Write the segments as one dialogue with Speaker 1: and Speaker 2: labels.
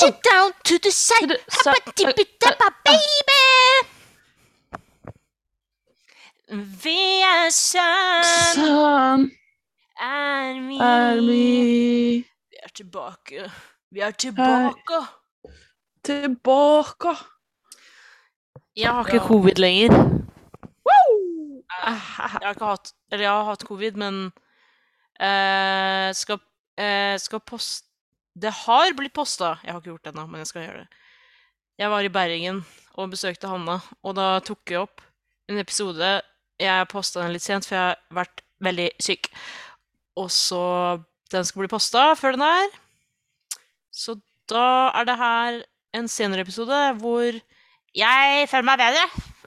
Speaker 1: you down to the side. Habba dibba dabba, baby. Vi er sann,
Speaker 2: Sann
Speaker 1: er vi.
Speaker 2: Sånn er vi
Speaker 1: Vi er tilbake. Vi er tilbake.
Speaker 2: tilbake.
Speaker 1: Jeg har
Speaker 2: ikke
Speaker 1: covid lenger. Ah,
Speaker 2: Ah,
Speaker 1: Jeg har ikke hatt Eller jeg har hatt covid, men eh, skal, eh, skal post... Det har blitt posta. Jeg har ikke gjort det ennå, men jeg skal gjøre det. Jeg var i Bergen og besøkte Hanna, og da tok jeg opp en episode. Jeg posta den litt sent, for jeg har vært veldig syk. Og så Den skal bli posta før den er. Så da er det her en senere episode hvor jeg føler meg bedre.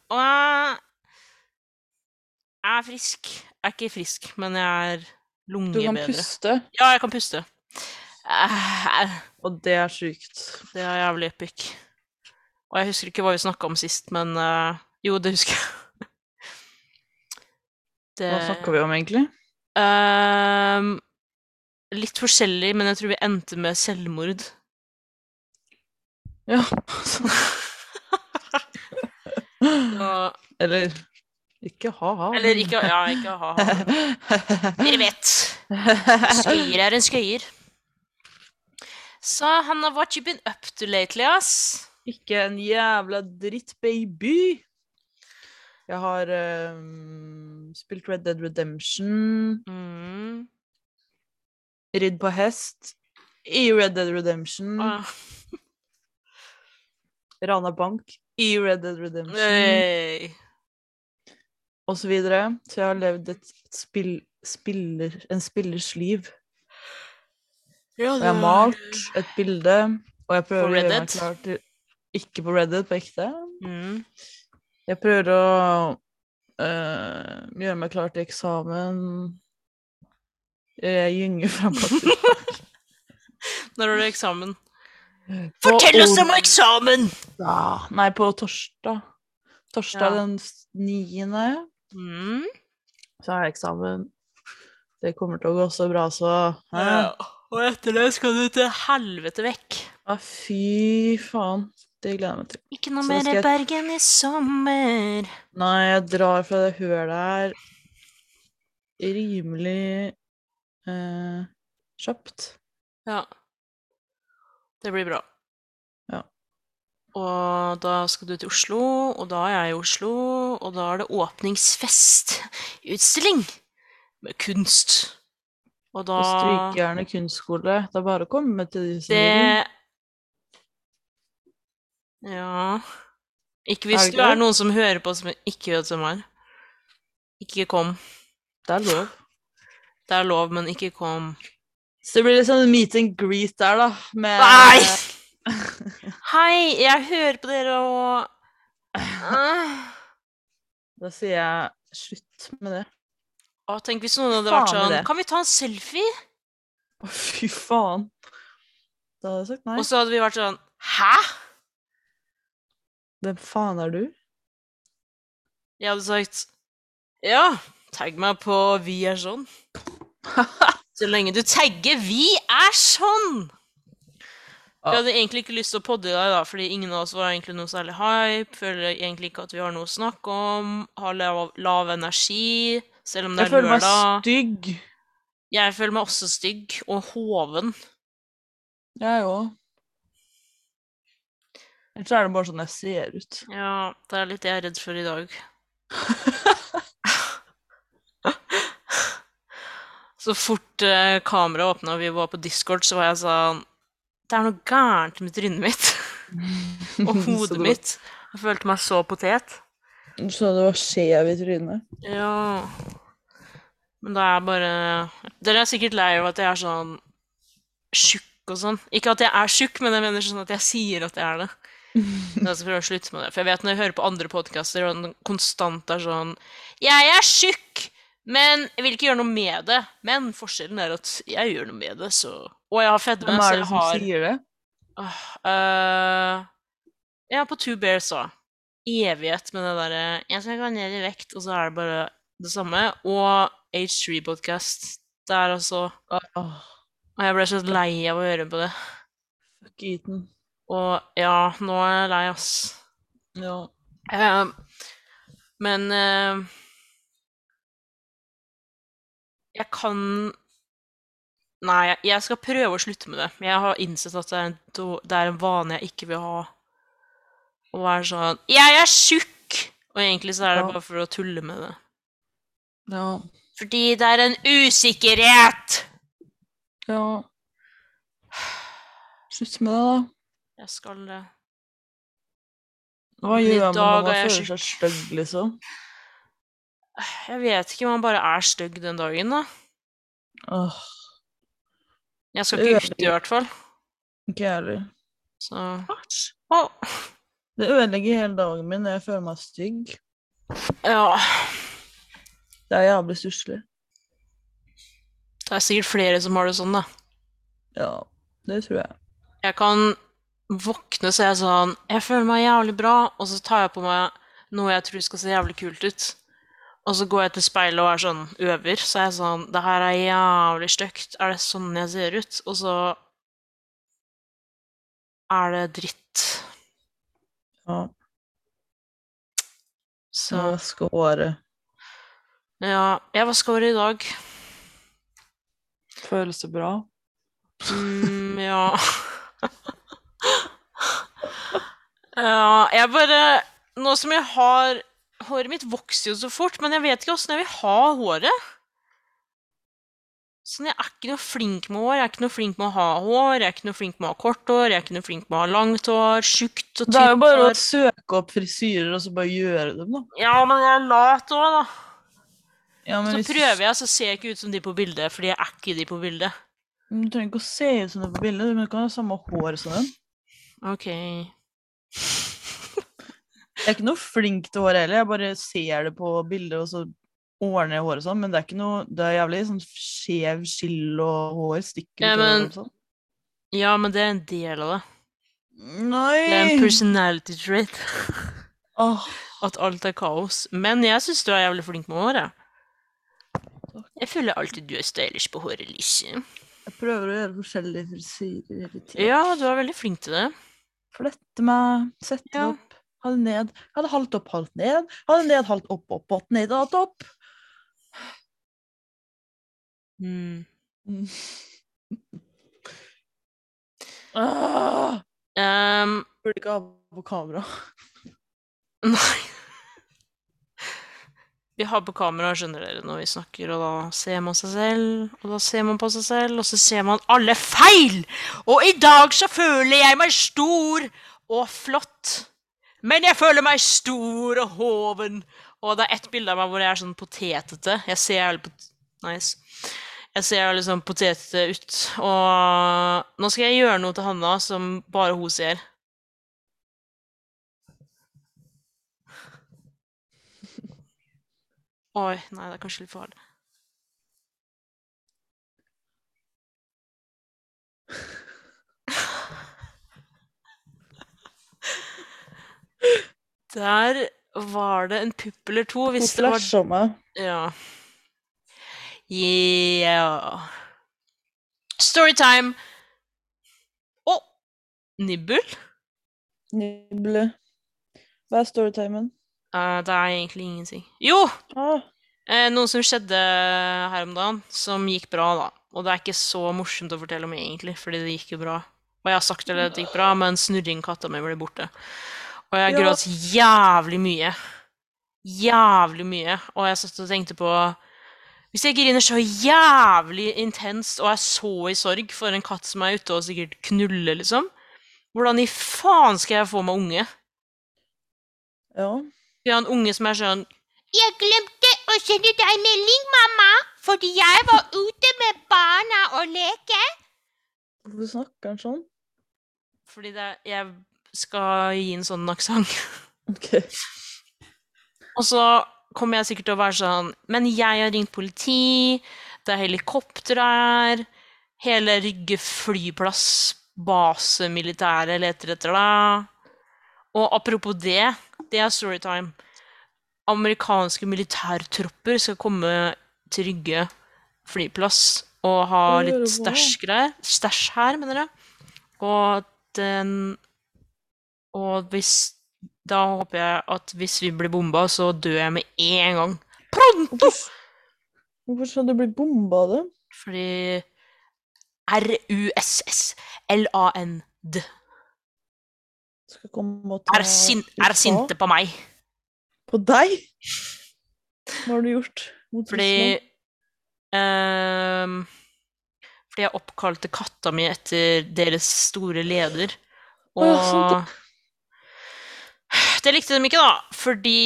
Speaker 1: Og jeg er frisk. Jeg er ikke frisk, men jeg er
Speaker 2: Du kan
Speaker 1: lungebedre.
Speaker 2: puste,
Speaker 1: Ja, jeg kan puste. Eh,
Speaker 2: og det er sjukt.
Speaker 1: Det er jævlig epic. Og jeg husker ikke hva vi snakka om sist, men eh, Jo, det husker jeg. Det
Speaker 2: Hva snakker vi om, egentlig?
Speaker 1: Ehm, Litt forskjellig, men jeg tror vi endte med selvmord.
Speaker 2: Ja, sånn.
Speaker 1: Og,
Speaker 2: Eller ikke ha-ha.
Speaker 1: eller ikke Ja, ikke ha-ha. Dere vet. Skøyer er en skøyer. Så Hanna, what you been up to lately, ass?
Speaker 2: Ikke en jævla dritt, baby! Jeg har ehm, spilt Red Dead Redemption,
Speaker 1: Mm.
Speaker 2: ridd på hest i Red Dead Redemption,
Speaker 1: Ah.
Speaker 2: rana bank i Red Dead Redemption,
Speaker 1: Hey.
Speaker 2: og så videre. Så jeg har levd et spill, spiller, en spillers liv.
Speaker 1: Ja,
Speaker 2: Og jeg har malt et bilde, og jeg prøver å
Speaker 1: Red
Speaker 2: gjøre meg
Speaker 1: Dead?
Speaker 2: klar til Ikke på Red Dead, på ekte.
Speaker 1: Mm.
Speaker 2: Jeg prøver å øh, gjøre meg klar til eksamen. Jeg gynger fram og tilbake.
Speaker 1: Når har du eksamen?
Speaker 2: På onsdag-
Speaker 1: eksamen!
Speaker 2: Nei, på torsdag. Torsdag
Speaker 1: Ja.
Speaker 2: den s- niende
Speaker 1: Mm.
Speaker 2: så har jeg eksamen. Det kommer til å gå så bra, så Hæ?
Speaker 1: Ja. Og etter det skal du til helvete vekk.
Speaker 2: Ja, Ah, fy faen. Det gleder jeg meg til.
Speaker 1: Ikke noe
Speaker 2: Så
Speaker 1: mer
Speaker 2: skal jeg-
Speaker 1: Bergen i sommer.
Speaker 2: Nei, jeg drar fra det hølet her rimelig eh, kjapt.
Speaker 1: Ja. Det blir bra.
Speaker 2: Ja.
Speaker 1: Og da skal du til Oslo, og da er jeg i Oslo, og da er det åpningsfest. Utstilling med kunst. Og da
Speaker 2: På Strykerne kunstskole. Det er bare å komme til de som vil.
Speaker 1: Det Ja Ikke hvis
Speaker 2: Er det
Speaker 1: du
Speaker 2: ikke
Speaker 1: er
Speaker 2: det?
Speaker 1: noen som hører på som ikke vet hvem er. Ikke kom.
Speaker 2: Det er lov.
Speaker 1: Det er lov, men ikke kom.
Speaker 2: Så det blir litt sånn meet and greet der, da. Med,
Speaker 1: Nei! Hei, jeg hører på dere og Ah.
Speaker 2: Da sier jeg slutt med det.
Speaker 1: Å, tenk hvis noen hadde vært
Speaker 2: Faen med
Speaker 1: sånn
Speaker 2: det.
Speaker 1: Kan vi ta en selfie?
Speaker 2: Å, fy faen. Da hadde jeg sagt nei.
Speaker 1: Og så hadde vi vært sånn Hæ?
Speaker 2: Hvem faen er du?
Speaker 1: Jeg hadde sagt Ja, tagg meg på Vi er sånn. Så lenge du tagger Vi er sånn! Vi
Speaker 2: Ja.
Speaker 1: hadde egentlig ikke lyst til å podde i dag, da, fordi ingen av oss var egentlig noe særlig hype. Føler egentlig ikke at vi har noe å snakke om. Har lav, lav energi. Selv om det
Speaker 2: Jeg
Speaker 1: er
Speaker 2: føler meg
Speaker 1: lørdag.
Speaker 2: stygg.
Speaker 1: Jeg føler meg også stygg og hoven.
Speaker 2: Jeg òg. Ellers er det bare sånn jeg ser ut.
Speaker 1: Ja, det er litt det jeg er redd for i dag. så fort eh, kameraet åpna og vi var på Discord, så var jeg sånn Det er noe gærent med trynet mitt og
Speaker 2: Så
Speaker 1: hodet
Speaker 2: du-
Speaker 1: mitt. Jeg følte meg så potet.
Speaker 2: Så det var skjev i trynet?
Speaker 1: Ja. Men da er jeg bare Dere er sikkert lei av at jeg er sånn tjukk og sånn. Ikke at jeg er tjukk, men jeg mener sånn at jeg sier at jeg er det. Så jeg skal prøve å slutte med det. For jeg vet når jeg hører på andre podkaster, og den konstant er sånn Jeg er tjukk, men jeg vil ikke gjøre noe med det. Men forskjellen er at jeg gjør noe med det, så Og jeg har fedme, så
Speaker 2: Hvem er det
Speaker 1: jeg
Speaker 2: som
Speaker 1: har
Speaker 2: sier det?
Speaker 1: Øh, Jeg er på Two Bears òg. Evighet med det derre Jeg skal gå ned i vekt, og så er det bare det samme. Og H3 Podcast. Det er altså
Speaker 2: Åh,
Speaker 1: Og jeg ble så lei av å høre på det.
Speaker 2: fuck Eton.
Speaker 1: Og ja, nå er jeg lei, ass.
Speaker 2: Ja.
Speaker 1: Eh, men eh, Jeg kan Nei, jeg- jeg skal prøve å slutte med det. Men jeg har innsett at det er en, do- det er en vane jeg ikke vil ha. Å være sånn 'Jeg er tjukk!' Og egentlig så er det
Speaker 2: Ja.
Speaker 1: bare for å tulle med det.
Speaker 2: Ja.
Speaker 1: Fordi det er en usikkerhet!
Speaker 2: ja. Slutt med det, da.
Speaker 1: Jeg skal eh, det.
Speaker 2: Hva
Speaker 1: Men i
Speaker 2: gjør jeg
Speaker 1: dag
Speaker 2: når man
Speaker 1: er jeg
Speaker 2: føler seg stygg, liksom?
Speaker 1: Jeg vet ikke, man bare er stygg den dagen, da.
Speaker 2: Åh,
Speaker 1: Jeg skal
Speaker 2: Det
Speaker 1: ikke
Speaker 2: gjør
Speaker 1: ut i hvert fall.
Speaker 2: ikke jeg heller.
Speaker 1: Så Å,
Speaker 2: Det ødelegger hele dagen min når jeg føler meg stygg.
Speaker 1: Ja.
Speaker 2: Det er jævlig stusslig.
Speaker 1: Det er sikkert flere som har det sånn, da.
Speaker 2: Ja, det tror jeg.
Speaker 1: Jeg kan våkne og se sånn Jeg føler meg jævlig bra, og så tar jeg på meg noe jeg tror skal se jævlig kult ut. Og så går jeg til speilet og er sånn øver, så er jeg sånn Det her er jævlig stygt. Er det sånn jeg ser ut? Og så er det dritt.
Speaker 2: Ja,
Speaker 1: Så
Speaker 2: så vaske håret.
Speaker 1: Ja. Jeg vaska håret i dag.
Speaker 2: Føles det bra?
Speaker 1: Mm, ja. ja, jeg bare Nå som jeg har Håret mitt vokser jo så fort, men jeg vet ikke åssen jeg vil ha håret. Sånn, Jeg er ikke noe flink med hår. Jeg er ikke noe flink med å ha hår. Jeg er ikke noe flink med å ha kort hår. Jeg er ikke noe flink med å ha langt hår. Tjukt og
Speaker 2: Det er jo
Speaker 1: tynt
Speaker 2: bare å
Speaker 1: hår.
Speaker 2: søke opp frisyrer og så bare gjøre dem, da.
Speaker 1: Ja, men jeg er lat òg, da.
Speaker 2: Ja, men
Speaker 1: Så
Speaker 2: hvis du-
Speaker 1: prøver jeg, så ser jeg ikke ut som de på bildet, fordi jeg er ikke de på bildet.
Speaker 2: Men Du trenger ikke å se ut som det på bildet, men du kan ha samme hår som den.
Speaker 1: Ok.
Speaker 2: Jeg er ikke noe flink til hår heller, jeg bare ser det på bildet, og så ordner jeg håret sånn, men det er ikke noe Det er jævlig sånn skjev skill og hår stikker
Speaker 1: Ja,
Speaker 2: ut av
Speaker 1: men-
Speaker 2: hverandre og sånn.
Speaker 1: Ja, men det er en del av det. Det er en
Speaker 2: Nei!
Speaker 1: personality trait
Speaker 2: Åh,
Speaker 1: at alt er kaos. Men jeg syns du er jævlig flink med håret.
Speaker 2: Takk.
Speaker 1: Jeg føler alltid du er stylish på håret, Lise.
Speaker 2: jeg prøver å gjøre forskjellige frisyrer hele tiden.
Speaker 1: Ja, du er veldig flink til det.
Speaker 2: Flette meg, sette det
Speaker 1: Ja.
Speaker 2: opp, ha det ned. Ha det halvt opp, halvt ned. Ha det ned, halvt opp, opp, opp, ned, halvt opp. Mm. Ah,
Speaker 1: Ehm,
Speaker 2: burde ikke ha på kamera.
Speaker 1: nei Vi har på kamera, skjønner dere, når vi snakker, og da ser man seg selv, og da ser man på seg selv, og så ser man alle feil! Og i dag så føler jeg meg stor og flott. Men jeg føler meg stor og hoven. Og det er ett bilde av meg hvor jeg er sånn potetete. Jeg ser jævlig pot... Nice. Jeg ser jævlig sånn potetete ut. Og nå skal jeg gjøre noe til Hanna som bare hun ser. Oi, nei, det er kanskje litt farlig. Der var det en pupp eller to,
Speaker 2: Hun
Speaker 1: hvis det var
Speaker 2: flasher meg.
Speaker 1: ja. Yeah. Storytime. Å! Nibbel?
Speaker 2: Nible. Hva er storytimen?
Speaker 1: Eh, det er egentlig ingenting. Jo!
Speaker 2: Ah,
Speaker 1: Eh, noe som skjedde her om dagen, som gikk bra, da. Og det er ikke så morsomt å fortelle om, egentlig, fordi det gikk jo bra. Og jeg har sagt til dere at det gikk bra, men snurringkatta mi ble borte. Og jeg
Speaker 2: Ja.
Speaker 1: gråt jævlig mye. Jævlig mye. Og jeg satt og tenkte på Hvis jeg griner så jævlig intenst og er så i sorg for en katt som er ute og sikkert knuller, liksom, hvordan i faen skal jeg få meg unge?
Speaker 2: ja.
Speaker 1: Vi har en unge som er sånn Jeg glemte å sende deg melding, mamma, fordi jeg var ute med barna og leke.
Speaker 2: Hvorfor snakker han sånn?
Speaker 1: Fordi det, er- jeg skal gi en sånn aksent.
Speaker 2: Ok.
Speaker 1: Og så kommer jeg sikkert til å være sånn Men jeg har ringt politi, det er helikopter her, hele Rygge flyplass, base militære leter etter deg. Og apropos det, det er storytime. Amerikanske militærtropper skal komme til Rygge flyplass og ha
Speaker 2: Å,
Speaker 1: litt
Speaker 2: wow.
Speaker 1: stæsj-greier. Stæsj her, mener jeg. Og den Og hvis Da håper jeg at hvis vi blir bomba, så dør jeg med en gang. Pronto!
Speaker 2: Hvorfor, hvorfor skal du bli bomba av det?
Speaker 1: Fordi R-U-S-S-L-A-N-D
Speaker 2: Skal komme og ta
Speaker 1: er, sin,
Speaker 2: USA
Speaker 1: er sinte på meg.
Speaker 2: På deg? Hva har du gjort? mot
Speaker 1: Fordi ehm, Fordi jeg oppkalte katta mi etter deres store leder.
Speaker 2: Å
Speaker 1: Og
Speaker 2: ja, sant
Speaker 1: Det likte de ikke, da. Fordi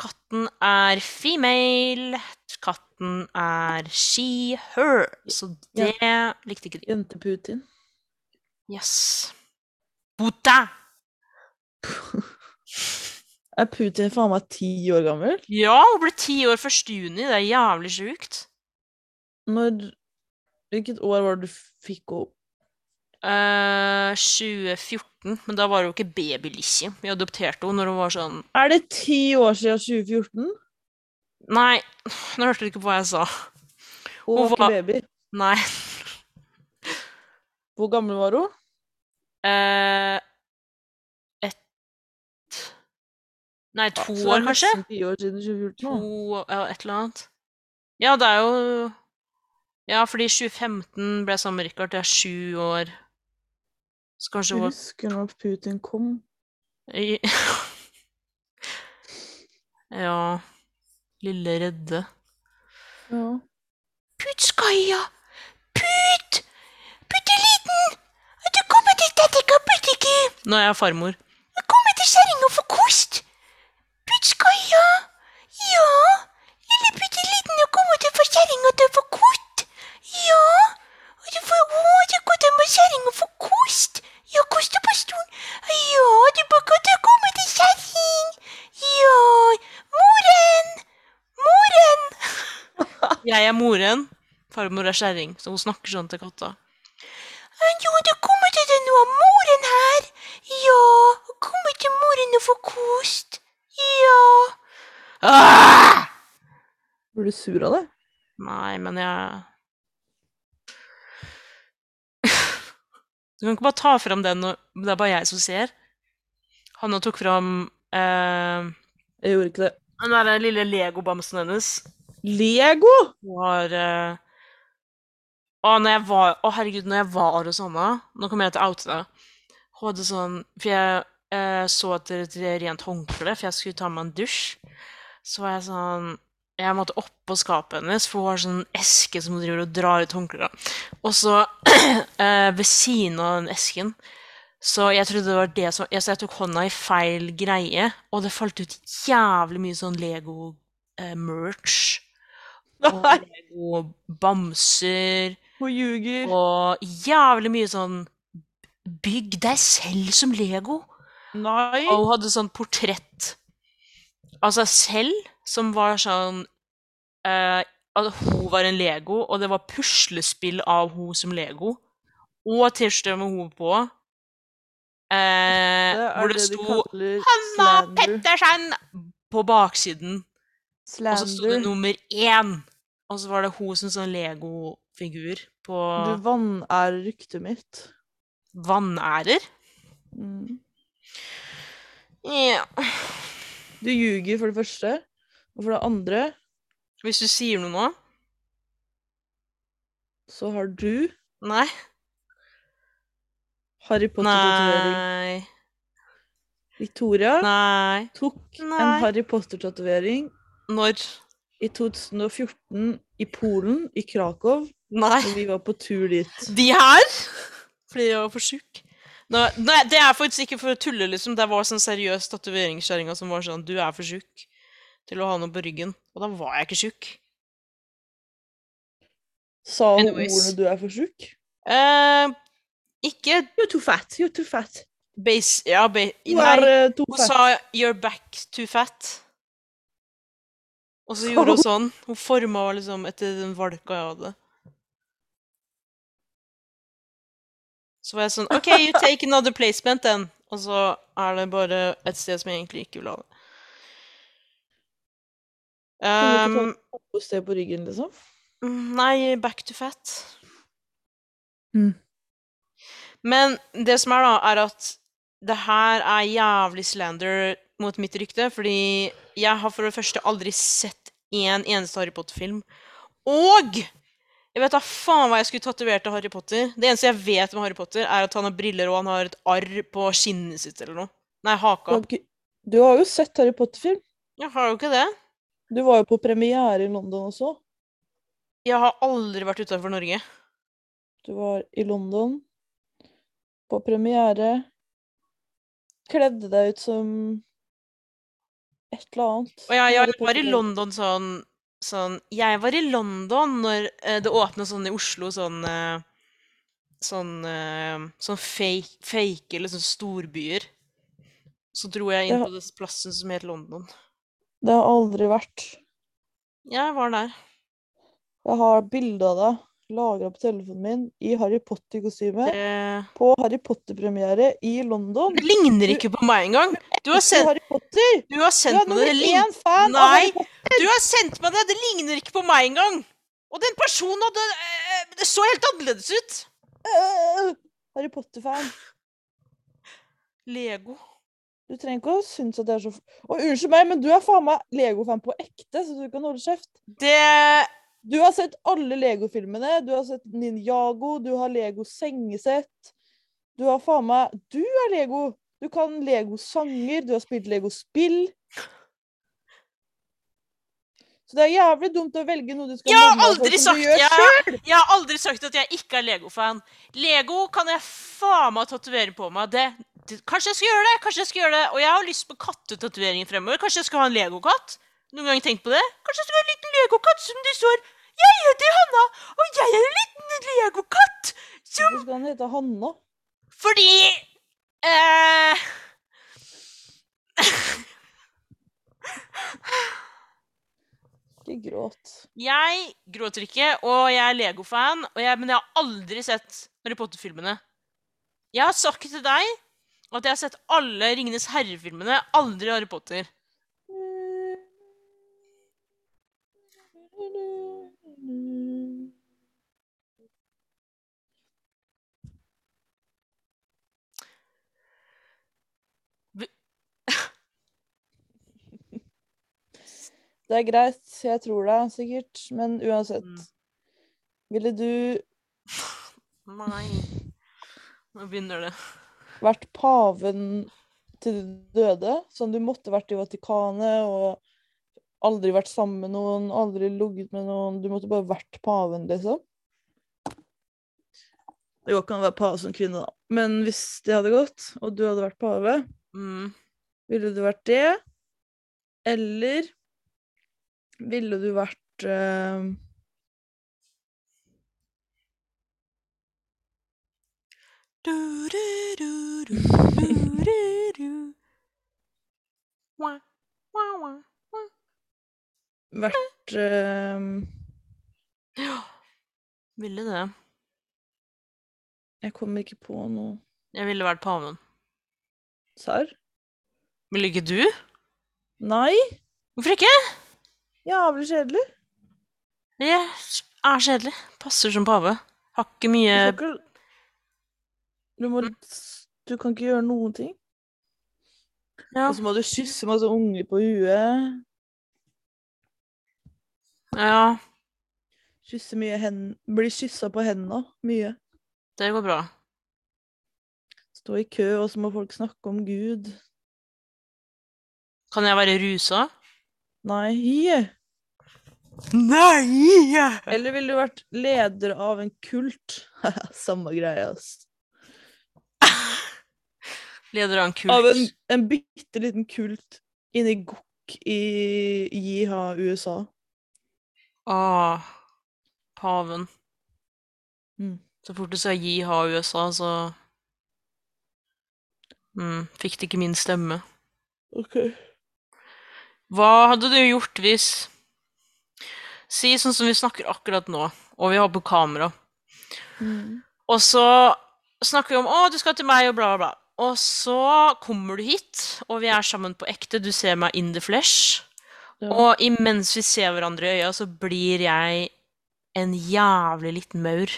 Speaker 1: katten er female. Katten er she, her. Så det likte ikke de.
Speaker 2: Russland? Jente Putin.
Speaker 1: Yes. Puta!
Speaker 2: Er Putin faen meg ti år gammel?
Speaker 1: Ja, hun ble ti år 1. juni. Det er jævlig sjukt.
Speaker 2: Når Hvilket år var det du fikk opp
Speaker 1: Eh, 2014, men da var hun ikke baby Lizzie. Vi adopterte henne når hun var sånn
Speaker 2: Er det ti år siden 2014?
Speaker 1: Nei, nå hørte du ikke på hva jeg sa.
Speaker 2: Hun
Speaker 1: Hun
Speaker 2: var ikke
Speaker 1: var-
Speaker 2: baby.
Speaker 1: Nei.
Speaker 2: Hvor gammel var hun?
Speaker 1: Eh, ett Nei, to
Speaker 2: Så det er
Speaker 1: år, kanskje?
Speaker 2: Nesten ti år siden 2014.
Speaker 1: To
Speaker 2: nå.
Speaker 1: ja, Et eller annet. Ja, det er jo Ja, fordi 2015 ble jeg sammen med Richard. Det er sju år. Så kanskje hun
Speaker 2: Jeg
Speaker 1: var
Speaker 2: husker når Putin kom.
Speaker 1: I- Ja Lille redde.
Speaker 2: Ja.
Speaker 1: Putskaia! Put! Putteliten! At du kommer til dette kappetikket! Nå er jeg farmor. Jeg kommer til kjerringa for kost! Putskaia! Ja! Lille putteliten, nå kommer du for kjerringa til å få kost! Ja! Og du får å, du går til med kjerringa for kost! Ja, kost på stolen! Ja, du bare kan til å komme til kjerring! Ja! Moren! Moren! Jeg er moren. Farmor er kjerring, så hun snakker sånn til katta. Jo, det kommer til deg noe av moren her. Ja, hun kommer til moren og får kost. Ja. Ah!
Speaker 2: Blir du sur av det?
Speaker 1: Nei, men jeg Du kan ikke bare ta fram den, og det er bare jeg som ser. Hanna tok fram eh,
Speaker 2: Jeg gjorde ikke det.
Speaker 1: den derre lille legobamsen hennes.
Speaker 2: Lego!
Speaker 1: Hun har eh, Å, når jeg var, å, herregud, når jeg var hos Anna Nå kommer jeg til å oute deg. Hun hadde sånn For jeg eh, så etter et rent håndkle, for jeg skulle ta meg en dusj. Så var jeg sånn Jeg måtte oppå skapet hennes, for hun har sånn eske som hun driver og drar ut håndkleet av. Og så eh, ved siden av den esken så jeg trodde det var det som jeg, Så jeg tok hånda i feil greie, og det falt ut jævlig mye sånn eh, Lego-merch og
Speaker 2: Nei,
Speaker 1: Lego bamser
Speaker 2: hun ljuger.
Speaker 1: og jævlig mye sånn Bygg deg selv som Lego.
Speaker 2: Nei.
Speaker 1: Og hun hadde sånn portrett av seg selv som var sånn eh, At hun var en Lego, og det var puslespill av hun som Lego. Og T-skjorte med hun på. Eh,
Speaker 2: Det er
Speaker 1: hvor det
Speaker 2: det de
Speaker 1: sto
Speaker 2: kaller
Speaker 1: 'Hanna
Speaker 2: slander.
Speaker 1: Pettersen' på baksiden. Og så sto det
Speaker 2: Slander.
Speaker 1: nummer én. Og så var det hun som sånn Lego-figur på
Speaker 2: Du vanærer ryktet mitt.
Speaker 1: vanærer.
Speaker 2: Mm.
Speaker 1: Ja.
Speaker 2: Du ljuger, for det første. Og for det andre
Speaker 1: Hvis du sier noe nå
Speaker 2: så har du
Speaker 1: Nei.
Speaker 2: Harry Potter-tatovering.
Speaker 1: Nei.
Speaker 2: Victoria
Speaker 1: Nei.
Speaker 2: tok en
Speaker 1: Nei.
Speaker 2: Harry Potter-tatovering
Speaker 1: Når?
Speaker 2: i 2014 i Polen, i Krakow,
Speaker 1: Nei.
Speaker 2: når vi var på tur dit.
Speaker 1: De her? Fordi jeg var for sjuk. Nå- Nei, det er faktisk ikke for å tulle, liksom. Det var sånn seriøs tatoveringskjerringa som var sånn Du er for sjuk til å ha noe på ryggen. Og da var jeg ikke sjuk.
Speaker 2: Sa hun
Speaker 1: Anyways.
Speaker 2: ordene 'du er for tjukk'?
Speaker 1: Eh, ikke
Speaker 2: You're too fat. You're too fat.
Speaker 1: base... Ja, base...
Speaker 2: Du
Speaker 1: Nei.
Speaker 2: er eh, too
Speaker 1: Hun
Speaker 2: fat.
Speaker 1: sa 'you're back to fat'. Og så
Speaker 2: Sa
Speaker 1: gjorde hun
Speaker 2: hun?
Speaker 1: sånn. Hun forma meg liksom etter den valka jeg hadde. Så var jeg sånn 'OK, you take another placement then'. Og så er det bare et sted som jeg egentlig ikke vil ha det.
Speaker 2: Kan du ikke
Speaker 1: Ehm,
Speaker 2: Noe sted på ryggen, liksom.
Speaker 1: nei, back to fat.
Speaker 2: Mm.
Speaker 1: Men det som er, da, er at det her er jævlig slander mot mitt rykte, fordi jeg har for det første aldri sett én eneste Harry Potter-film. Og jeg vet da faen hva jeg skulle tatovert av Harry Potter. Det eneste jeg vet om Harry Potter, er at han har briller og han har et arr på skinnet sitt eller noe. Nei,
Speaker 2: Du
Speaker 1: haka.
Speaker 2: har, ikke- du har jo sett Harry Potter-film.
Speaker 1: Jeg har jo ikke det.
Speaker 2: Du var jo på premiere i London også.
Speaker 1: Jeg har aldri vært utenfor Norge.
Speaker 2: Du var i London på premiere. Kledde deg ut som et eller annet.
Speaker 1: Og jeg,
Speaker 2: Harry
Speaker 1: jeg var i
Speaker 2: Potter.
Speaker 1: London sånn, sånn Jeg var i London når eh, det åpna sånn i Oslo sånn eh, Sånn, eh, sånn fake, fake eller sånn storbyer. Så dro jeg inn
Speaker 2: Ja.
Speaker 1: på den plassen som het London.
Speaker 2: Det har aldri vært.
Speaker 1: Jeg var der.
Speaker 2: Jeg har bilde av deg lagra på telefonen min i Harry Potter-kostyme.
Speaker 1: Det,
Speaker 2: På Harry Potter-premiere i London.
Speaker 1: det ligner ikke på meg engang! Du har,
Speaker 2: I
Speaker 1: sendt,
Speaker 2: Harry Potter!
Speaker 1: du har
Speaker 2: Du
Speaker 1: sendt
Speaker 2: er
Speaker 1: meg det.
Speaker 2: nummer
Speaker 1: Det, lign-
Speaker 2: én fan av
Speaker 1: Nei.
Speaker 2: Harry Potter!
Speaker 1: du har sendt meg det! Det ligner ikke på meg engang! Og den personen hadde eh, Det så helt annerledes ut!
Speaker 2: Øh, Harry Potter-fan.
Speaker 1: Lego.
Speaker 2: Du trenger ikke å synes at det er så f- Og unnskyld meg, men du er faen meg Lego-fan på ekte, så du kan holde kjeft.
Speaker 1: Det
Speaker 2: Du har sett alle Lego-filmene. Du har sett Ninjago, du har Lego sengesett. Du har faen meg Du er Lego! Du kan Lego-sanger, du har spilt Lego-spill. Så det er jævlig dumt å velge noe du skal
Speaker 1: Jeg har
Speaker 2: navne på
Speaker 1: aldri
Speaker 2: som
Speaker 1: sagt
Speaker 2: du gjør
Speaker 1: jeg-
Speaker 2: selv.
Speaker 1: Jeg har aldri sagt at jeg ikke er Lego-fan. Lego kan jeg faen meg tatovere på meg. Det, det, kanskje jeg skal gjøre det, kanskje jeg skal gjøre det. Og jeg har lyst på kattetatoveringer fremover. Kanskje jeg skal ha en Lego-katt? Noen gang tenkt på det? Kanskje jeg skal ha en liten Lego-katt som det står 'Jeg heter Hanna, og jeg er en liten Lego-katt'.
Speaker 2: Hvorfor skal han hete Hanna?
Speaker 1: Fordi eh,
Speaker 2: Ikke gråt.
Speaker 1: Jeg gråter ikke, og jeg er Lego-fan, og jeg, men jeg har aldri sett Harry Potter-filmene. Jeg har sagt til deg at jeg har sett alle Ringenes herre-filmene, aldri Harry Potter.
Speaker 2: Det er greit, jeg tror deg sikkert, men uansett. Ville du
Speaker 1: Nei. Nå begynner det.
Speaker 2: vært paven til du døde, som du måtte vært i Vatikanet og aldri vært sammen med noen, aldri ligget med noen, du måtte bare vært paven, liksom? Det går ikke an å være pave som kvinne, da. Men hvis det hadde gått, og du hadde vært pave,
Speaker 1: Mm.
Speaker 2: ville du vært det? Eller ville du vært eh,
Speaker 1: Du, du, du, du, du, du, du. Wah, wah, wah.
Speaker 2: Vært eh,
Speaker 1: Ja. Ville det.
Speaker 2: Jeg kommer ikke på noe
Speaker 1: Jeg ville vært paven.
Speaker 2: Serr?
Speaker 1: Ville ikke du?
Speaker 2: Nei?
Speaker 1: Hvorfor ikke?
Speaker 2: Jævlig kjedelig.
Speaker 1: Det er kjedelig. Passer som pave. Har ikke
Speaker 2: Du,
Speaker 1: mye
Speaker 2: får ikke- du, må, du kan ikke gjøre noen ting.
Speaker 1: Ja.
Speaker 2: Og så må du kysse masse unger på huet.
Speaker 1: ja.
Speaker 2: Kysse mye hen... Bli kyssa på henda mye.
Speaker 1: Det går bra.
Speaker 2: Stå i kø, og så må folk snakke om Gud.
Speaker 1: Kan jeg være rusa?
Speaker 2: Nei.
Speaker 1: Nei!
Speaker 2: Eller ville du vært leder av en kult? Samme greie, ass.
Speaker 1: Leder av en kult.
Speaker 2: Av en, en bitte liten kult inni gokk i Jiha, USA.
Speaker 1: Åh, Ah, paven.
Speaker 2: Mm.
Speaker 1: Så fort du sa jiha USA, så mm, Fikk det ikke min stemme.
Speaker 2: Ok.
Speaker 1: Hva hadde du gjort hvis Si sånn som vi snakker akkurat nå, og vi har på kamera.
Speaker 2: Mm.
Speaker 1: Og så snakker vi om 'Å, du skal til meg', og bla, bla, bla. Og så kommer du hit, og vi er sammen på ekte. Du ser meg in the flesh.
Speaker 2: Ja.
Speaker 1: Og imens vi ser hverandre i øya, så blir jeg en jævlig liten maur.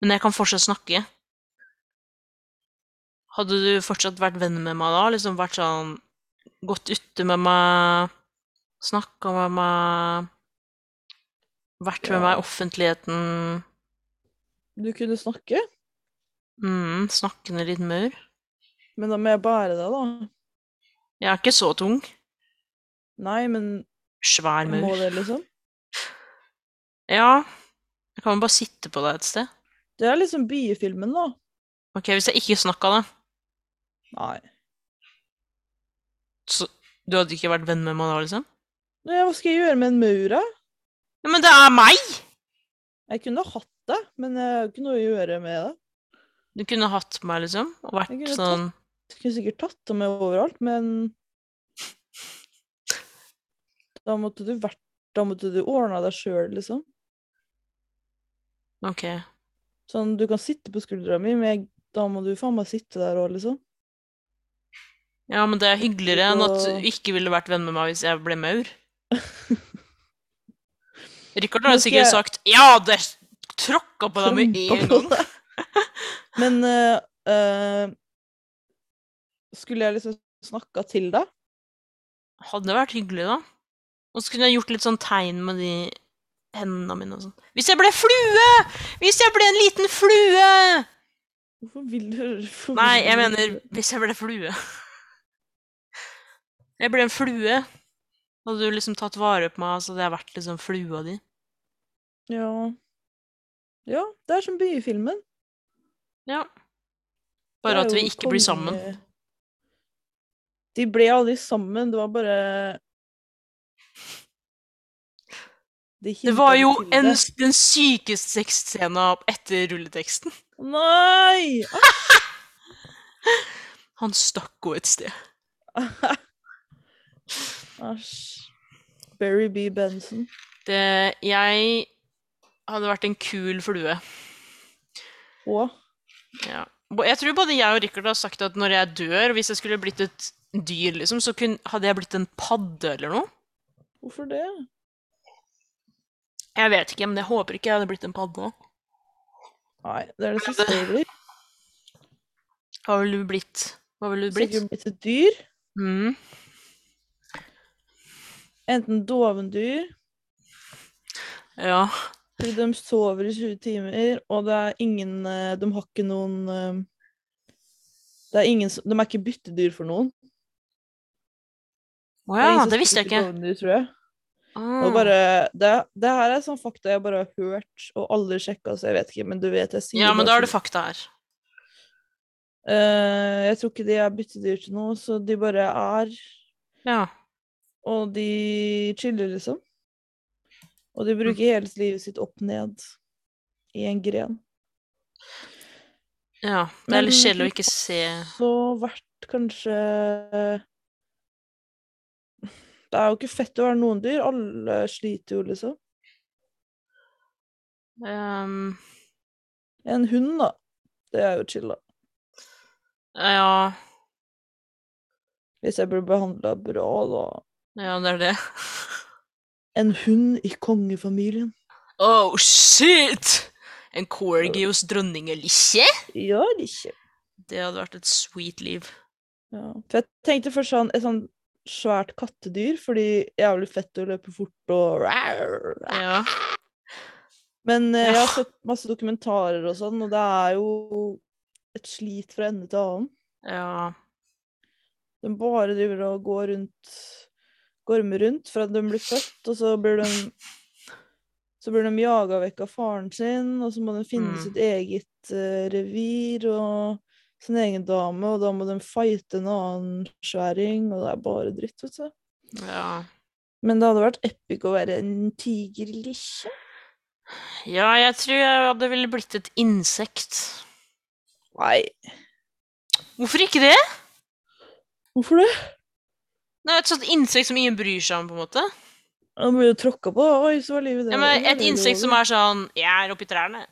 Speaker 1: Men jeg kan fortsatt snakke. Hadde du fortsatt vært venn med meg da? Liksom vært sånn Gått ute med meg, snakka med meg, vært med
Speaker 2: Ja.
Speaker 1: meg i offentligheten,
Speaker 2: Du kunne snakke,
Speaker 1: mm, snakkende litt maur?
Speaker 2: men da må jeg bære deg, da.
Speaker 1: Jeg er ikke så tung.
Speaker 2: Nei, men
Speaker 1: Svær
Speaker 2: må
Speaker 1: maur.
Speaker 2: det, liksom?
Speaker 1: Ja. Jeg kan jo bare sitte på deg et sted.
Speaker 2: Det er liksom biefilmen, da.
Speaker 1: Ok, hvis jeg ikke snakka, da.
Speaker 2: Nei.
Speaker 1: Så du hadde ikke vært venn med meg da, liksom?
Speaker 2: Nå, ja, Hva skal jeg gjøre med en maur, da?
Speaker 1: Ja, men det er meg!
Speaker 2: Jeg kunne hatt det, men jeg har ikke noe å gjøre med det.
Speaker 1: Du kunne hatt meg, liksom, og vært
Speaker 2: Jeg kunne tatt-
Speaker 1: sånn
Speaker 2: Jeg kunne sikkert tatt det med overalt, men Da måtte du vært Da måtte du ordna deg sjøl, liksom.
Speaker 1: Ok.
Speaker 2: Sånn, du kan sitte på skuldra mi, men jeg, da må du faen meg sitte der òg, liksom.
Speaker 1: Ja, men det er hyggeligere enn at
Speaker 2: Så-
Speaker 1: du ikke ville vært venn med meg hvis jeg ble maur. Richard har
Speaker 2: Nå skal
Speaker 1: sikkert
Speaker 2: jeg-
Speaker 1: sagt 'ja, det tråkka på deg med
Speaker 2: Trampa
Speaker 1: en
Speaker 2: på
Speaker 1: gang'.
Speaker 2: deg. Men eh, eh, Skulle jeg liksom snakka til deg?
Speaker 1: Hadde vært hyggelig, da. Og så kunne jeg gjort litt sånn tegn med de hendene mine og sånn. Hvis jeg ble flue! Hvis jeg ble en liten flue!
Speaker 2: Hvorfor vil du hvorfor
Speaker 1: Nei, jeg
Speaker 2: vil du-
Speaker 1: mener hvis jeg ble flue. Jeg ble en flue. Hadde du liksom tatt vare på meg, så hadde jeg vært liksom flua di.
Speaker 2: Ja. ja, det er som byfilmen.
Speaker 1: Ja.
Speaker 2: Det
Speaker 1: Bare
Speaker 2: er
Speaker 1: at vi
Speaker 2: jo
Speaker 1: ikke blir sammen.
Speaker 2: konge- De ble aldri sammen, det var bare De
Speaker 1: Det var
Speaker 2: hintet
Speaker 1: jo
Speaker 2: til
Speaker 1: en,
Speaker 2: det.
Speaker 1: den sykeste sexscena etter rulleteksten.
Speaker 2: Nei!
Speaker 1: Han stakk henne et sted.
Speaker 2: Æsj. Barry B. Benson.
Speaker 1: Det, jeg hadde vært en kul flue.
Speaker 2: Å,
Speaker 1: Ja. Bo- Jeg tror både jeg og Richard har sagt at når jeg dør, hvis jeg skulle blitt et dyr, liksom, så kun, hadde jeg blitt en padde eller noe.
Speaker 2: hvorfor det?
Speaker 1: Jeg vet ikke, men jeg håper ikke jeg hadde blitt en padde.
Speaker 2: Nei, det er det som står der.
Speaker 1: Hva ville du blitt? Hva ville du blitt?
Speaker 2: Sikkert blitt et dyr.
Speaker 1: Mm.
Speaker 2: Enten dovendyr,
Speaker 1: Ja.
Speaker 2: fordi de sover i 20 timer, og det er ingen eh, De har ikke noen eh, det er ingen, s- De er ikke byttedyr for noen.
Speaker 1: Å
Speaker 2: er ingen
Speaker 1: ja,
Speaker 2: som
Speaker 1: det visste jeg
Speaker 2: spiser
Speaker 1: ikke.
Speaker 2: dovendyr, tror jeg.
Speaker 1: Ah.
Speaker 2: Og bare, det, det her er sånn fakta jeg bare har hørt, og aldri sjekka, så jeg vet ikke. Men du vet, jeg sier
Speaker 1: Ja, men da er det
Speaker 2: fakta.
Speaker 1: fakta her.
Speaker 2: Eh, jeg tror ikke de er byttedyr til noe, så de bare er
Speaker 1: Ja.
Speaker 2: Og de chiller, liksom. Og de bruker
Speaker 1: Mm.
Speaker 2: hele livet sitt opp ned i en gren.
Speaker 1: ja. Det
Speaker 2: Men
Speaker 1: er litt kjedelig å
Speaker 2: hun
Speaker 1: ikke se
Speaker 2: Så vært kanskje Det er jo ikke fett å være noen dyr. Alle sliter jo, liksom.
Speaker 1: Ehm,
Speaker 2: En hund, da. Det er jo chill, da.
Speaker 1: Ja.
Speaker 2: Hvis jeg blir behandla bra, da.
Speaker 1: Ja, det er det.
Speaker 2: En hund i kongefamilien.
Speaker 1: Oh, shit! En corgi hos dronning Elisje?
Speaker 2: Gjør ikke.
Speaker 1: Det hadde vært et sweet liv.
Speaker 2: Ja. For jeg tenkte først sånn et sånn svært kattedyr, fordi jævlig fett å løpe fort og
Speaker 1: Ja.
Speaker 2: Men eh, jeg har
Speaker 1: Ja.
Speaker 2: sett masse dokumentarer og sånn, og det er jo et slit fra ende til annen.
Speaker 1: ja.
Speaker 2: De bare driver og går rundt Gormer rundt fra de blir født, og så blir de så blir de jaga vekk av faren sin, og så må de finne
Speaker 1: Mm.
Speaker 2: sitt eget eh, revir og sin egen dame, og da må de fighte en annen sværing, og det er bare dritt, vet du.
Speaker 1: Ja.
Speaker 2: Men det hadde vært epic å være en tigerlisje.
Speaker 1: ja, jeg tror jeg hadde ville blitt et insekt.
Speaker 2: Nei,
Speaker 1: Hvorfor ikke det?
Speaker 2: hvorfor det?
Speaker 1: Det er Et sånt insekt som ingen bryr seg om, på en måte.
Speaker 2: Da blir du tråkka på. Oi, så var livet det.
Speaker 1: Ja, men Et insekt som er sånn Jeg er oppi trærne.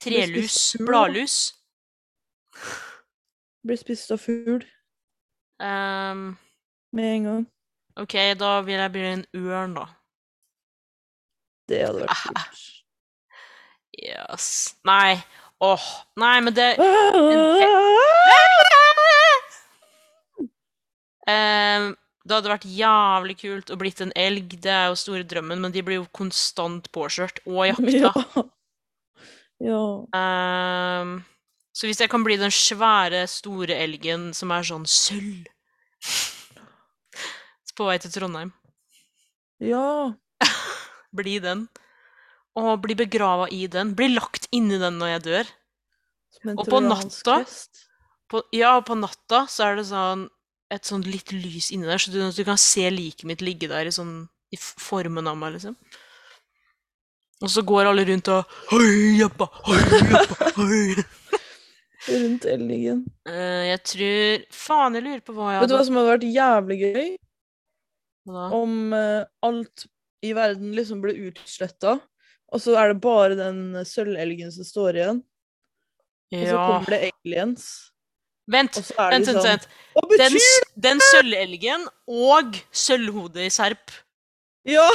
Speaker 1: Trelus.
Speaker 2: fugl, da.
Speaker 1: Bladlus.
Speaker 2: Blir spist av fugl
Speaker 1: Ehm,
Speaker 2: med en gang.
Speaker 1: ok, da vil jeg bli en ørn, da. Ah,
Speaker 2: Det hadde vært kult.
Speaker 1: Yes. Nei. Åh, nei, men det Ehm, Det hadde vært jævlig kult å blitt en elg, det er jo store drømmen, men de blir jo konstant påkjørt og jakta.
Speaker 2: Ja. ja.
Speaker 1: Ehm, så hvis jeg kan bli den svære, store elgen som er sånn sølv På vei til Trondheim.
Speaker 2: ja.
Speaker 1: Bli den. Og bli begrava i den. Bli lagt inni den når jeg dør.
Speaker 2: Som en
Speaker 1: Og på
Speaker 2: trojansk
Speaker 1: natta?
Speaker 2: hest.
Speaker 1: På, ja, og på natta så er det sånn et sånn litt lys inni der, så du, du kan se liket mitt ligge der i sånn i f- formen av meg, liksom. Og så går alle rundt og «Hoi, jappa, hoi, jappa, hoi».
Speaker 2: Rundt elgen.
Speaker 1: Eh, Jeg tror Faen, jeg lurer på hva jeg
Speaker 2: Vet du
Speaker 1: hadde
Speaker 2: hva som hadde vært jævlig gøy?
Speaker 1: hva da?
Speaker 2: Om eh, alt i verden liksom ble utsletta, og så er det bare den sølvelgen som står igjen. Og så
Speaker 1: Ja
Speaker 2: kommer det aliens.
Speaker 1: Vent,
Speaker 2: Og så er det
Speaker 1: vent, vent.
Speaker 2: sånn
Speaker 1: vent.
Speaker 2: Hva betyr
Speaker 1: Den, s- den sølvelgen og sølvhodet i serp.
Speaker 2: Ja!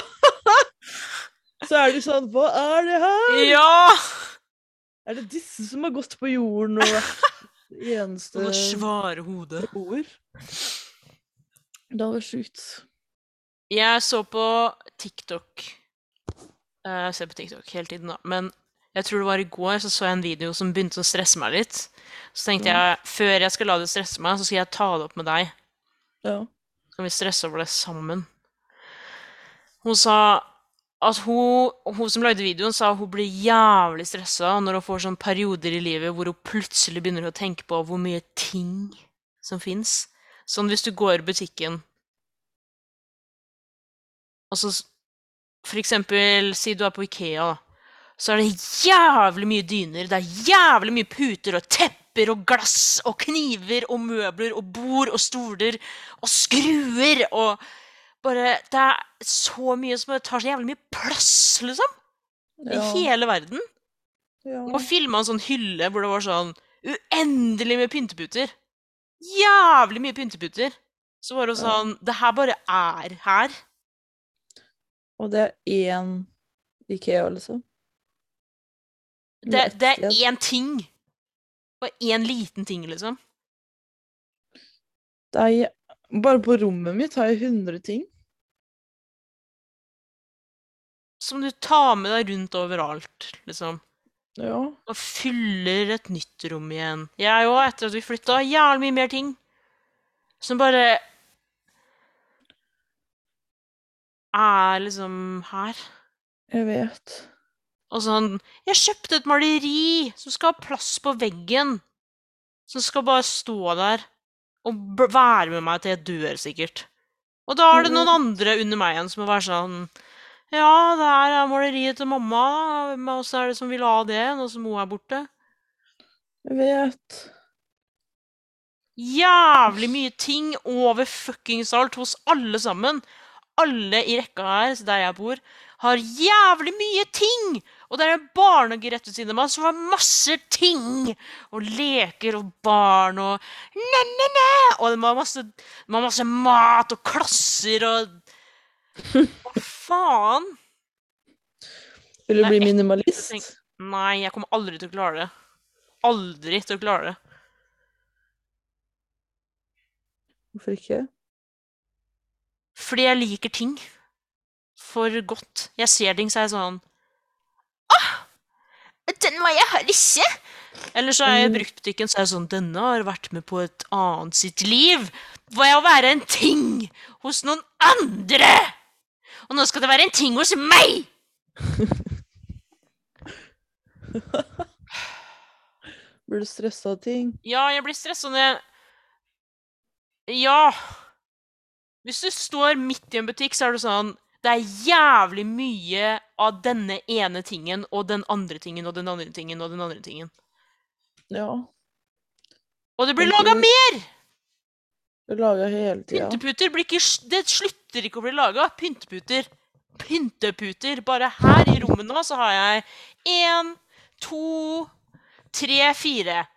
Speaker 2: så er de sånn Hva er det her?
Speaker 1: Ja!
Speaker 2: Er det disse som har gått på jorden og vært det
Speaker 1: Og
Speaker 2: eneste
Speaker 1: det svære hodet.
Speaker 2: beboer? Det hadde vært sjukt.
Speaker 1: Jeg så på TikTok Eh, Jeg ser på TikTok hele tiden, da. Men jeg tror det var i går så så jeg en video som begynte å stresse meg litt. Så tenkte jeg før jeg skal la det stresse meg, så skal jeg ta det opp med deg.
Speaker 2: Ja.
Speaker 1: Så kan vi stresse over det sammen. Hun sa at hun, hun som lagde videoen, sa hun blir jævlig stressa når hun får sånne perioder i livet hvor hun plutselig begynner å tenke på hvor mye ting som fins. Sånn hvis du går i butikken Og så s- For eksempel, si du er på Ikea, da. Så er det jævlig mye dyner, det er jævlig mye puter og tepper og glass og kniver og møbler og bord og stoler og skruer og bare Det er så mye som tar så jævlig mye plass, liksom. I
Speaker 2: Ja. Mm.
Speaker 1: hele verden.
Speaker 2: ja.
Speaker 1: Og filma en sånn hylle hvor det var sånn uendelig med pynteputer. Jævlig mye pynteputer. Så var det
Speaker 2: Ja.
Speaker 1: sånn Det her bare er her.
Speaker 2: Og det er én Ikea, liksom.
Speaker 1: Det,
Speaker 2: Eller
Speaker 1: det
Speaker 2: ett
Speaker 1: er én ting. Bare én liten ting, liksom.
Speaker 2: Det er jæ- Bare på rommet mitt har jeg 100 ting.
Speaker 1: Som du tar med deg rundt overalt, liksom.
Speaker 2: Ja.
Speaker 1: Og fyller et nytt rom igjen. Jeg òg, etter at vi flytta, jævlig mye mer ting. Som bare Er liksom her.
Speaker 2: Jeg vet.
Speaker 1: Og sånn Jeg kjøpte et maleri som skal ha plass på veggen. Som skal bare stå der og b være med meg til jeg dør, sikkert. Og da er det noen andre under meg igjen som må være sånn Ja, det her er maleriet til mamma. Hvem av oss er det som vil ha det, nå som hun er borte?
Speaker 2: Jeg vet.
Speaker 1: jævlig mye ting over fuckings alt hos alle sammen. Alle i rekka her, så der jeg bor, har jævlig mye ting! Og det er en barnehage rett ved siden av meg som har masse ting! Og leker og barn og ne-ne-ne! Og de har masse, de har masse mat og klasser og Hva faen?
Speaker 2: Vil du
Speaker 1: Det er
Speaker 2: bli
Speaker 1: ett ting.
Speaker 2: minimalist?
Speaker 1: Nei, jeg kommer aldri til å klare det. Aldri til å klare det.
Speaker 2: Hvorfor ikke?
Speaker 1: Fordi jeg liker ting for godt. Jeg ser ting, så er jeg sånn Åh! Den må jeg ha ikke! Eller så er jeg i
Speaker 2: Mm.
Speaker 1: bruktbutikken, så er jeg sånn Denne har vært med på et annet sitt liv. Var jeg å være en ting hos noen andre? Og nå skal det være en ting hos meg!
Speaker 2: Blir du stressa av ting?
Speaker 1: Ja, jeg blir stressa når jeg Ja. Hvis du står midt i en butikk, så er det sånn Det er jævlig mye av denne ene tingen og den andre tingen og den andre tingen og den andre tingen.
Speaker 2: Ja.
Speaker 1: Og det blir
Speaker 2: Tenker
Speaker 1: laga
Speaker 2: du-
Speaker 1: mer!
Speaker 2: Du lager hele tida.
Speaker 1: Pynteputer blir ikke s- Det slutter ikke å bli laga. Pynteputer. Pynteputer. Bare her i rommet nå så har jeg én, to, tre, fire.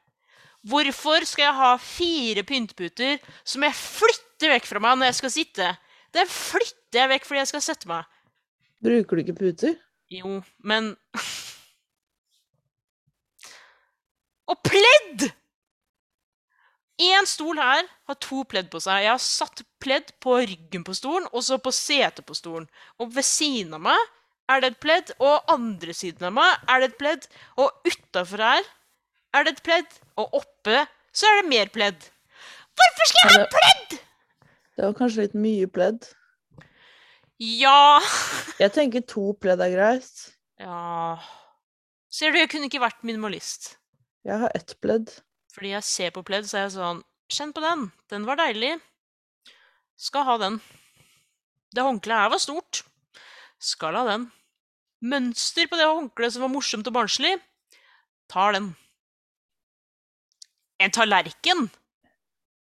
Speaker 1: Hvorfor skal jeg ha fire pynteputer som jeg flytter vekk fra meg når jeg skal sitte? Den flytter jeg vekk fordi jeg skal sette meg.
Speaker 2: Bruker du ikke puter?
Speaker 1: Jo, men pledd! Én stol her har to pledd på seg. Jeg har satt pledd på ryggen på stolen og så på setet på stolen. Og ved siden av meg er det et pledd, og andre siden av meg er det et pledd, og utafor her er det et pledd, og oppe så er det mer pledd. Hvorfor skal jeg
Speaker 2: Ja, det- Det var kanskje litt mye pledd.
Speaker 1: Ja.
Speaker 2: Jeg tenker to pledd er greit.
Speaker 1: ja. Ser du, jeg kunne ikke vært minimalist.
Speaker 2: Jeg har ett pledd.
Speaker 1: Fordi jeg ser på pledd, så er jeg sånn Kjenn på den. Den var deilig. Skal ha den. Det håndkleet her var stort. Skal ha den. Mønster på det håndkleet som var morsomt og barnslig. Tar den. En tallerken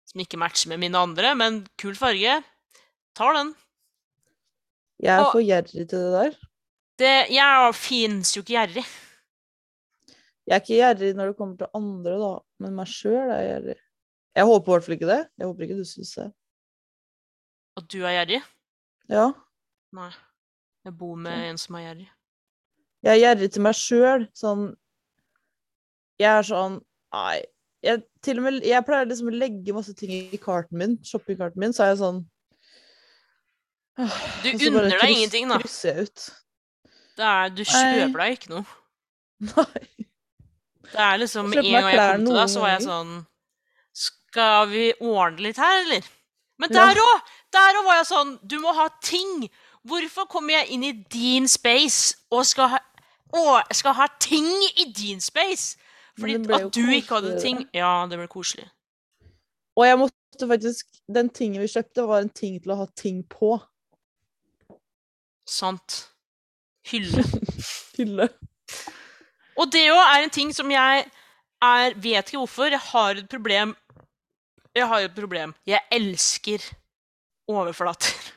Speaker 1: som ikke matcher med mine andre, men kul farge. Tar den.
Speaker 2: Jeg er
Speaker 1: Og-
Speaker 2: for gjerrig til det der.
Speaker 1: Det, jeg fins jo ikke gjerrig.
Speaker 2: Jeg er ikke gjerrig når det kommer til andre, da, men meg sjøl er jeg gjerrig. Jeg håper i hvert fall ikke det. Jeg håper ikke du syns det.
Speaker 1: At du er gjerrig.
Speaker 2: Ja.
Speaker 1: Nei. Jeg bor med en som er gjerrig.
Speaker 2: Jeg er gjerrig til meg sjøl. Sånn Jeg er sånn Nei. Jeg, til og med, jeg pleier liksom å legge masse ting i karten min, shoppingkarten min, så er jeg sånn «Åh»,
Speaker 1: Du
Speaker 2: og så bare
Speaker 1: unner deg
Speaker 2: kryss-
Speaker 1: ingenting, da.
Speaker 2: krysser jeg ut.
Speaker 1: Det er, du
Speaker 2: Nei.
Speaker 1: kjøper deg ikke noe.
Speaker 2: Nei.
Speaker 1: Det er liksom,
Speaker 2: Jeg
Speaker 1: En
Speaker 2: kjøper
Speaker 1: gang
Speaker 2: meg
Speaker 1: jeg
Speaker 2: klær
Speaker 1: kom til deg,
Speaker 2: noen
Speaker 1: så var jeg sånn Skal vi ordne litt her, eller? Men
Speaker 2: Ja.
Speaker 1: der òg! Der òg var jeg sånn Du må ha ting! Hvorfor kommer jeg inn i din space og skal ha, og skal ha ting i din space?
Speaker 2: Men
Speaker 1: Fordi
Speaker 2: det ble jo
Speaker 1: at du ikke hadde
Speaker 2: koseligere.
Speaker 1: ting Ja, det ble koselig.
Speaker 2: Og jeg måtte faktisk Den tingen vi kjøpte, var en ting til å ha ting på.
Speaker 1: Sant. Hylle.
Speaker 2: Hylle.
Speaker 1: Og det òg er en ting som jeg er Vet ikke hvorfor. Jeg har et problem. Jeg har et problem. Jeg elsker overflater.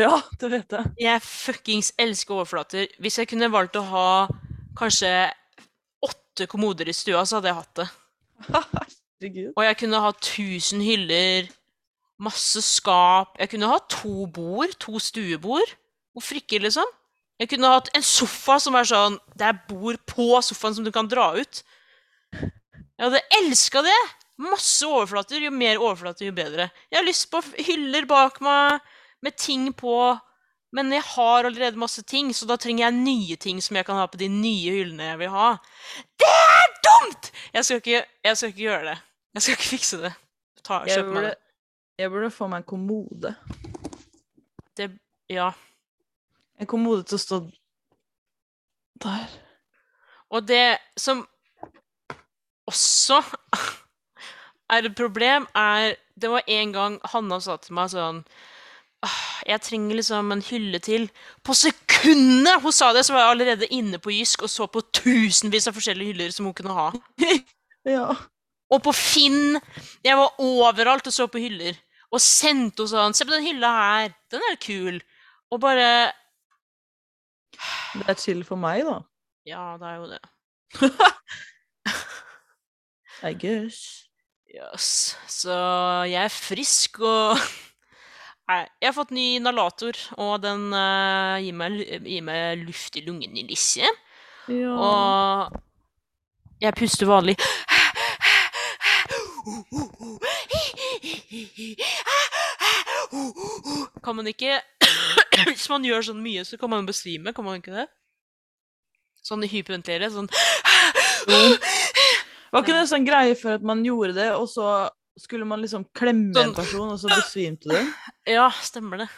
Speaker 3: Ja, det vet jeg.
Speaker 1: Jeg fuckings elsker overflater. Hvis jeg kunne valgt å ha kanskje åtte kommoder i stua, så hadde jeg hatt det.
Speaker 2: Herregud.
Speaker 1: Og jeg kunne ha 1000 hyller, masse skap Jeg kunne ha to bord, to stuebord. Hvorfor ikke, liksom? Jeg kunne hatt en sofa som er sånn Det er bord på sofaen som du kan dra ut. Jeg hadde elska det! Masse overflater. Jo mer overflater, jo bedre. Jeg har lyst på f- hyller bak meg med ting på, men jeg har allerede masse ting, så da trenger jeg nye ting som jeg kan ha på de nye hyllene jeg vil ha. Det er dumt! Jeg skal ikke, jeg skal ikke gjøre det. Jeg skal ikke fikse det. Ta,
Speaker 3: Jeg
Speaker 1: kjøp meg
Speaker 3: burde,
Speaker 1: det.
Speaker 3: jeg burde få meg en kommode.
Speaker 1: det. Ja.
Speaker 3: En kommode til å stå der.
Speaker 1: Og det som også er et problem, er Det var en gang Hanna sa til meg sånn «Ah, Jeg trenger liksom en hylle til. På sekundet hun sa det, så var jeg allerede inne på Jysk og så på tusenvis av forskjellige hyller som hun kunne ha.
Speaker 3: Ja.
Speaker 1: Og på Finn. Jeg var overalt og så på hyller. Og sendte henne sånn Se på den hylla her. Den er kul. Og bare
Speaker 3: Det er chill for meg, da.
Speaker 1: Ja, det er jo det.
Speaker 3: I guess.
Speaker 1: Yes. Så jeg er frisk og Nei, jeg har fått ny inhalator, og den eh, gir, meg, gir meg luft i lungene i Lisse.
Speaker 3: Ja.
Speaker 1: Og jeg puster vanlig. Kan man ikke Hvis man gjør sånn mye, så kan man besvime, kan man ikke det? Sånn hyperventilere. Sånn
Speaker 3: Var ikke det sånn greie for at man gjorde det, og så skulle man liksom klemme en
Speaker 1: Sånn.
Speaker 3: person, og så besvimte den?
Speaker 1: Ja, stemmer det.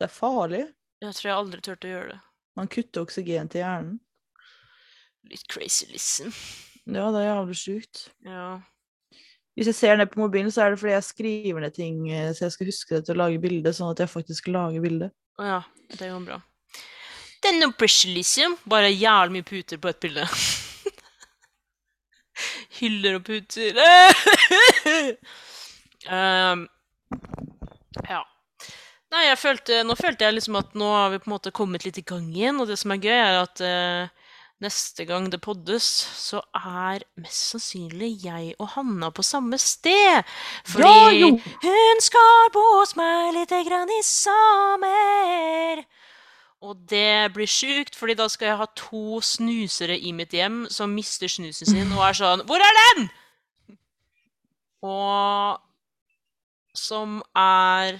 Speaker 2: Det er farlig.
Speaker 1: Jeg tror jeg aldri turte å gjøre det.
Speaker 3: Man kutter oksygen til hjernen.
Speaker 1: Litt crazy listen.
Speaker 3: Ja, det er jævlig sjukt.
Speaker 1: Ja.
Speaker 3: Hvis jeg ser ned på mobilen, så er det fordi jeg skriver ned ting, eh, så jeg skal huske det til å lage bilde, sånn at jeg faktisk lager bilde.
Speaker 1: Å ja, det går bra. Det er no pressure, liksom. Bare jævlig mye puter på ett bilde. Hyller og puter. um, ja. Nei, jeg følte, nå følte jeg liksom at nå har vi på en måte kommet litt i gang igjen, og det som er gøy, er at eh, neste gang det poddes, så er mest sannsynlig jeg og Hanna på samme sted. Fordi
Speaker 3: jo!
Speaker 1: hun skal bo hos meg lite grann i sommer. Og det blir sjukt, fordi da skal jeg ha to snusere i mitt hjem som mister snusen sin og er sånn Hvor er den?! og som er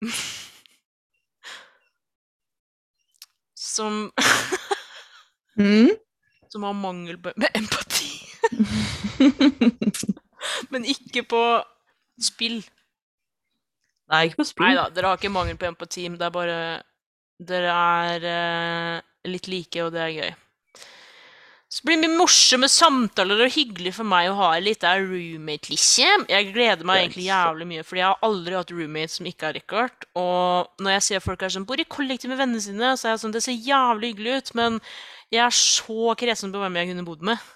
Speaker 1: Som,
Speaker 2: Mm.
Speaker 1: som har mangel på med empati,
Speaker 3: Mm.
Speaker 1: men ikke på spill.
Speaker 2: Nei, ikke på
Speaker 1: Nei
Speaker 2: spill.
Speaker 1: da, dere har ikke mangel på empati, men det er bare Dere er eh, litt like, og det er gøy. Så blir det mye morsomme samtaler og hyggelig for meg å ha ei lita roommate, liksom. Jeg gleder meg egentlig jævlig mye, fordi jeg har aldri hatt roommates som ikke har Richard. Og når jeg ser folk her som bor i kollektiv med vennene sine, så er jeg sånn Det ser jævlig hyggelig ut, men jeg er så kresen på hvem jeg kunne bodd med.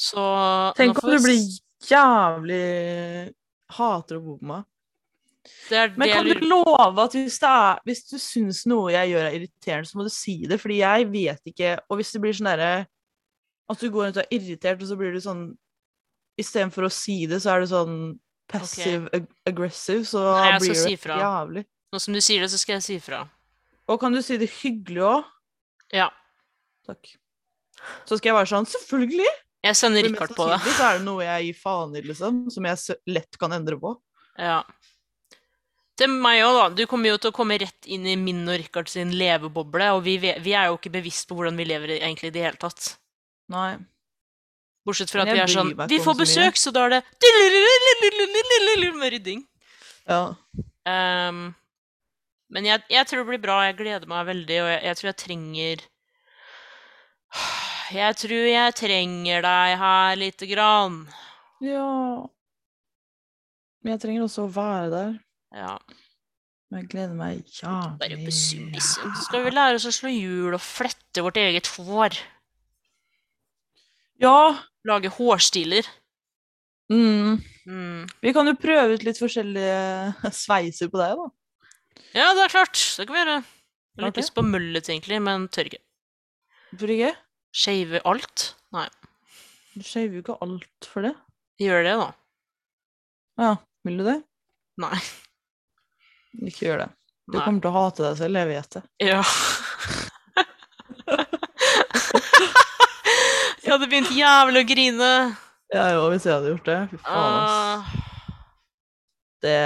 Speaker 1: Så nå
Speaker 2: Tenk om
Speaker 1: får
Speaker 2: du
Speaker 1: vi
Speaker 2: blir
Speaker 1: s-
Speaker 2: jævlig Hater å bo med meg.
Speaker 1: Det er
Speaker 2: Men
Speaker 1: det jeg
Speaker 2: kan
Speaker 1: lurer
Speaker 2: du love at hvis, det er, hvis du syns noe jeg gjør er irriterende, så må du si det, fordi jeg vet ikke Og hvis det blir sånn derre At du går rundt og er irritert, og så blir du sånn Istedenfor å si det, så er du sånn passive ag aggressive, så
Speaker 1: Nei, jeg skal
Speaker 2: blir det
Speaker 1: si fra.
Speaker 2: jævlig.
Speaker 1: Nå som du sier det, så skal jeg si ifra.
Speaker 2: Og kan du si det hyggelig òg?
Speaker 1: Ja.
Speaker 2: Takk. Så skal jeg være sånn Selvfølgelig!
Speaker 1: Jeg sender
Speaker 2: Men
Speaker 1: Richard
Speaker 2: mest
Speaker 1: på det.
Speaker 2: sannsynlig så er det noe jeg gir faen i, liksom, som jeg s- lett kan endre på.
Speaker 1: Ja. Det er meg òg, da. Du kommer jo til å komme rett inn i min og Richard sin leveboble, og vi, ve- vi er jo ikke bevisst på hvordan vi lever i- egentlig i det hele tatt.
Speaker 2: Nei.
Speaker 1: Bortsett fra at
Speaker 2: Men
Speaker 1: vi
Speaker 2: jeg
Speaker 1: er
Speaker 2: bryr
Speaker 1: sånn
Speaker 2: meg ikke
Speaker 1: Vi
Speaker 2: om
Speaker 1: får
Speaker 2: så mye.
Speaker 1: besøk, så da er det med rydding.
Speaker 2: Ja.
Speaker 1: Ehm, men jeg, jeg tror det blir bra. Jeg gleder meg veldig, og jeg, jeg tror jeg trenger Jeg tror jeg trenger deg her lite grann.
Speaker 2: ja. Men jeg trenger også å være der.
Speaker 1: Ja.
Speaker 2: Men jeg gleder meg
Speaker 1: Bare liksom.
Speaker 2: jævlig.
Speaker 1: besyndes. Så skal vi lære oss å slå hjul og flette vårt eget hår.
Speaker 2: Ja.
Speaker 1: Lage hårstiler.
Speaker 2: Mm.
Speaker 1: Mm.
Speaker 2: Vi kan jo prøve ut litt forskjellige sveiser på deg, da.
Speaker 1: Ja, det er klart. Det kan vi gjøre. Jeg har
Speaker 2: Klart
Speaker 1: litt lyst på møllet, egentlig, men tør ikke.
Speaker 2: Hvorfor ikke?
Speaker 1: Shave alt? Nei.
Speaker 2: Du shaver jo ikke alt for det.
Speaker 1: Gjør det, da.
Speaker 2: Ja, vil du det?
Speaker 1: Nei.
Speaker 2: Ikke gjør det. Du
Speaker 1: Nei.
Speaker 2: kommer til å hate deg selv, jeg vet det.
Speaker 1: Ja. jeg hadde begynt jævlig å grine.
Speaker 2: Jeg òg, hvis jeg hadde gjort det. Fy faen, ass.
Speaker 1: Ah,
Speaker 2: Det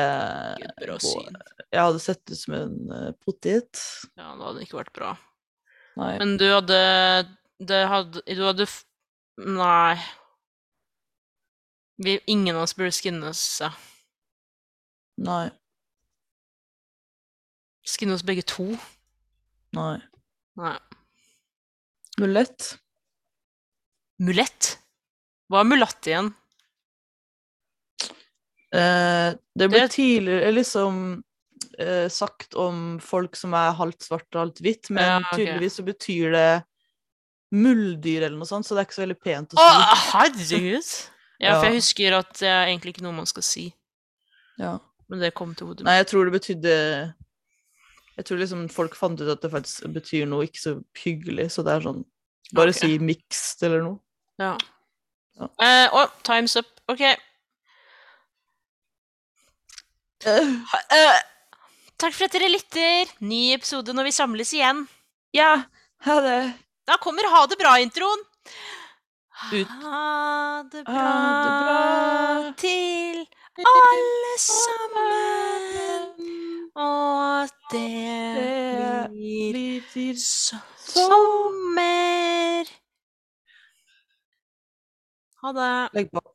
Speaker 1: Gud, bra
Speaker 2: går.
Speaker 1: syn.
Speaker 2: Jeg hadde sett ut som en eh, potet.
Speaker 1: Ja, det hadde ikke vært bra.
Speaker 2: Nei.
Speaker 1: Men du hadde Det hadde Du hadde f- Nei. Vi, ingen av oss burde skinnes. Ja.
Speaker 2: Nei.
Speaker 1: Skinne oss begge to.
Speaker 2: Nei.
Speaker 1: Nei.
Speaker 2: Mulett.
Speaker 1: Mulett? Hva er mulatt igjen?
Speaker 2: Eh, det ble
Speaker 1: Det-
Speaker 2: tidligere liksom eh, sagt om folk som er halvt svart og halvt hvitt, men
Speaker 1: Ja, ok.
Speaker 2: tydeligvis så betyr det muldyr eller noe sånt, så det er ikke så veldig pent å
Speaker 1: Å,
Speaker 2: si.
Speaker 1: herregud! Ja, for
Speaker 2: Ja.
Speaker 1: jeg husker at det er egentlig ikke noe man skal si.
Speaker 2: Ja.
Speaker 1: Men det kom til hodet mitt.
Speaker 2: Nei, jeg tror det betydde Jeg tror liksom folk fant ut at det faktisk betyr noe ikke så hyggelig, så det er sånn Bare
Speaker 1: Ok.
Speaker 2: si mixed eller noe.
Speaker 1: Ja.
Speaker 2: Ja.
Speaker 1: Eh, å, time's up. Ok. Eh, takk for at dere lytter. Ny episode når vi samles igjen.
Speaker 2: Ja, ha det.
Speaker 1: Da kommer Ha det bra-introen.
Speaker 2: Ut.
Speaker 1: Ha det bra,
Speaker 2: Ha det bra.
Speaker 1: til alle sammen. Og det
Speaker 2: Det
Speaker 1: blir
Speaker 2: Lyder
Speaker 1: so
Speaker 2: Så-
Speaker 1: sommer. Ha det.
Speaker 2: Legg på.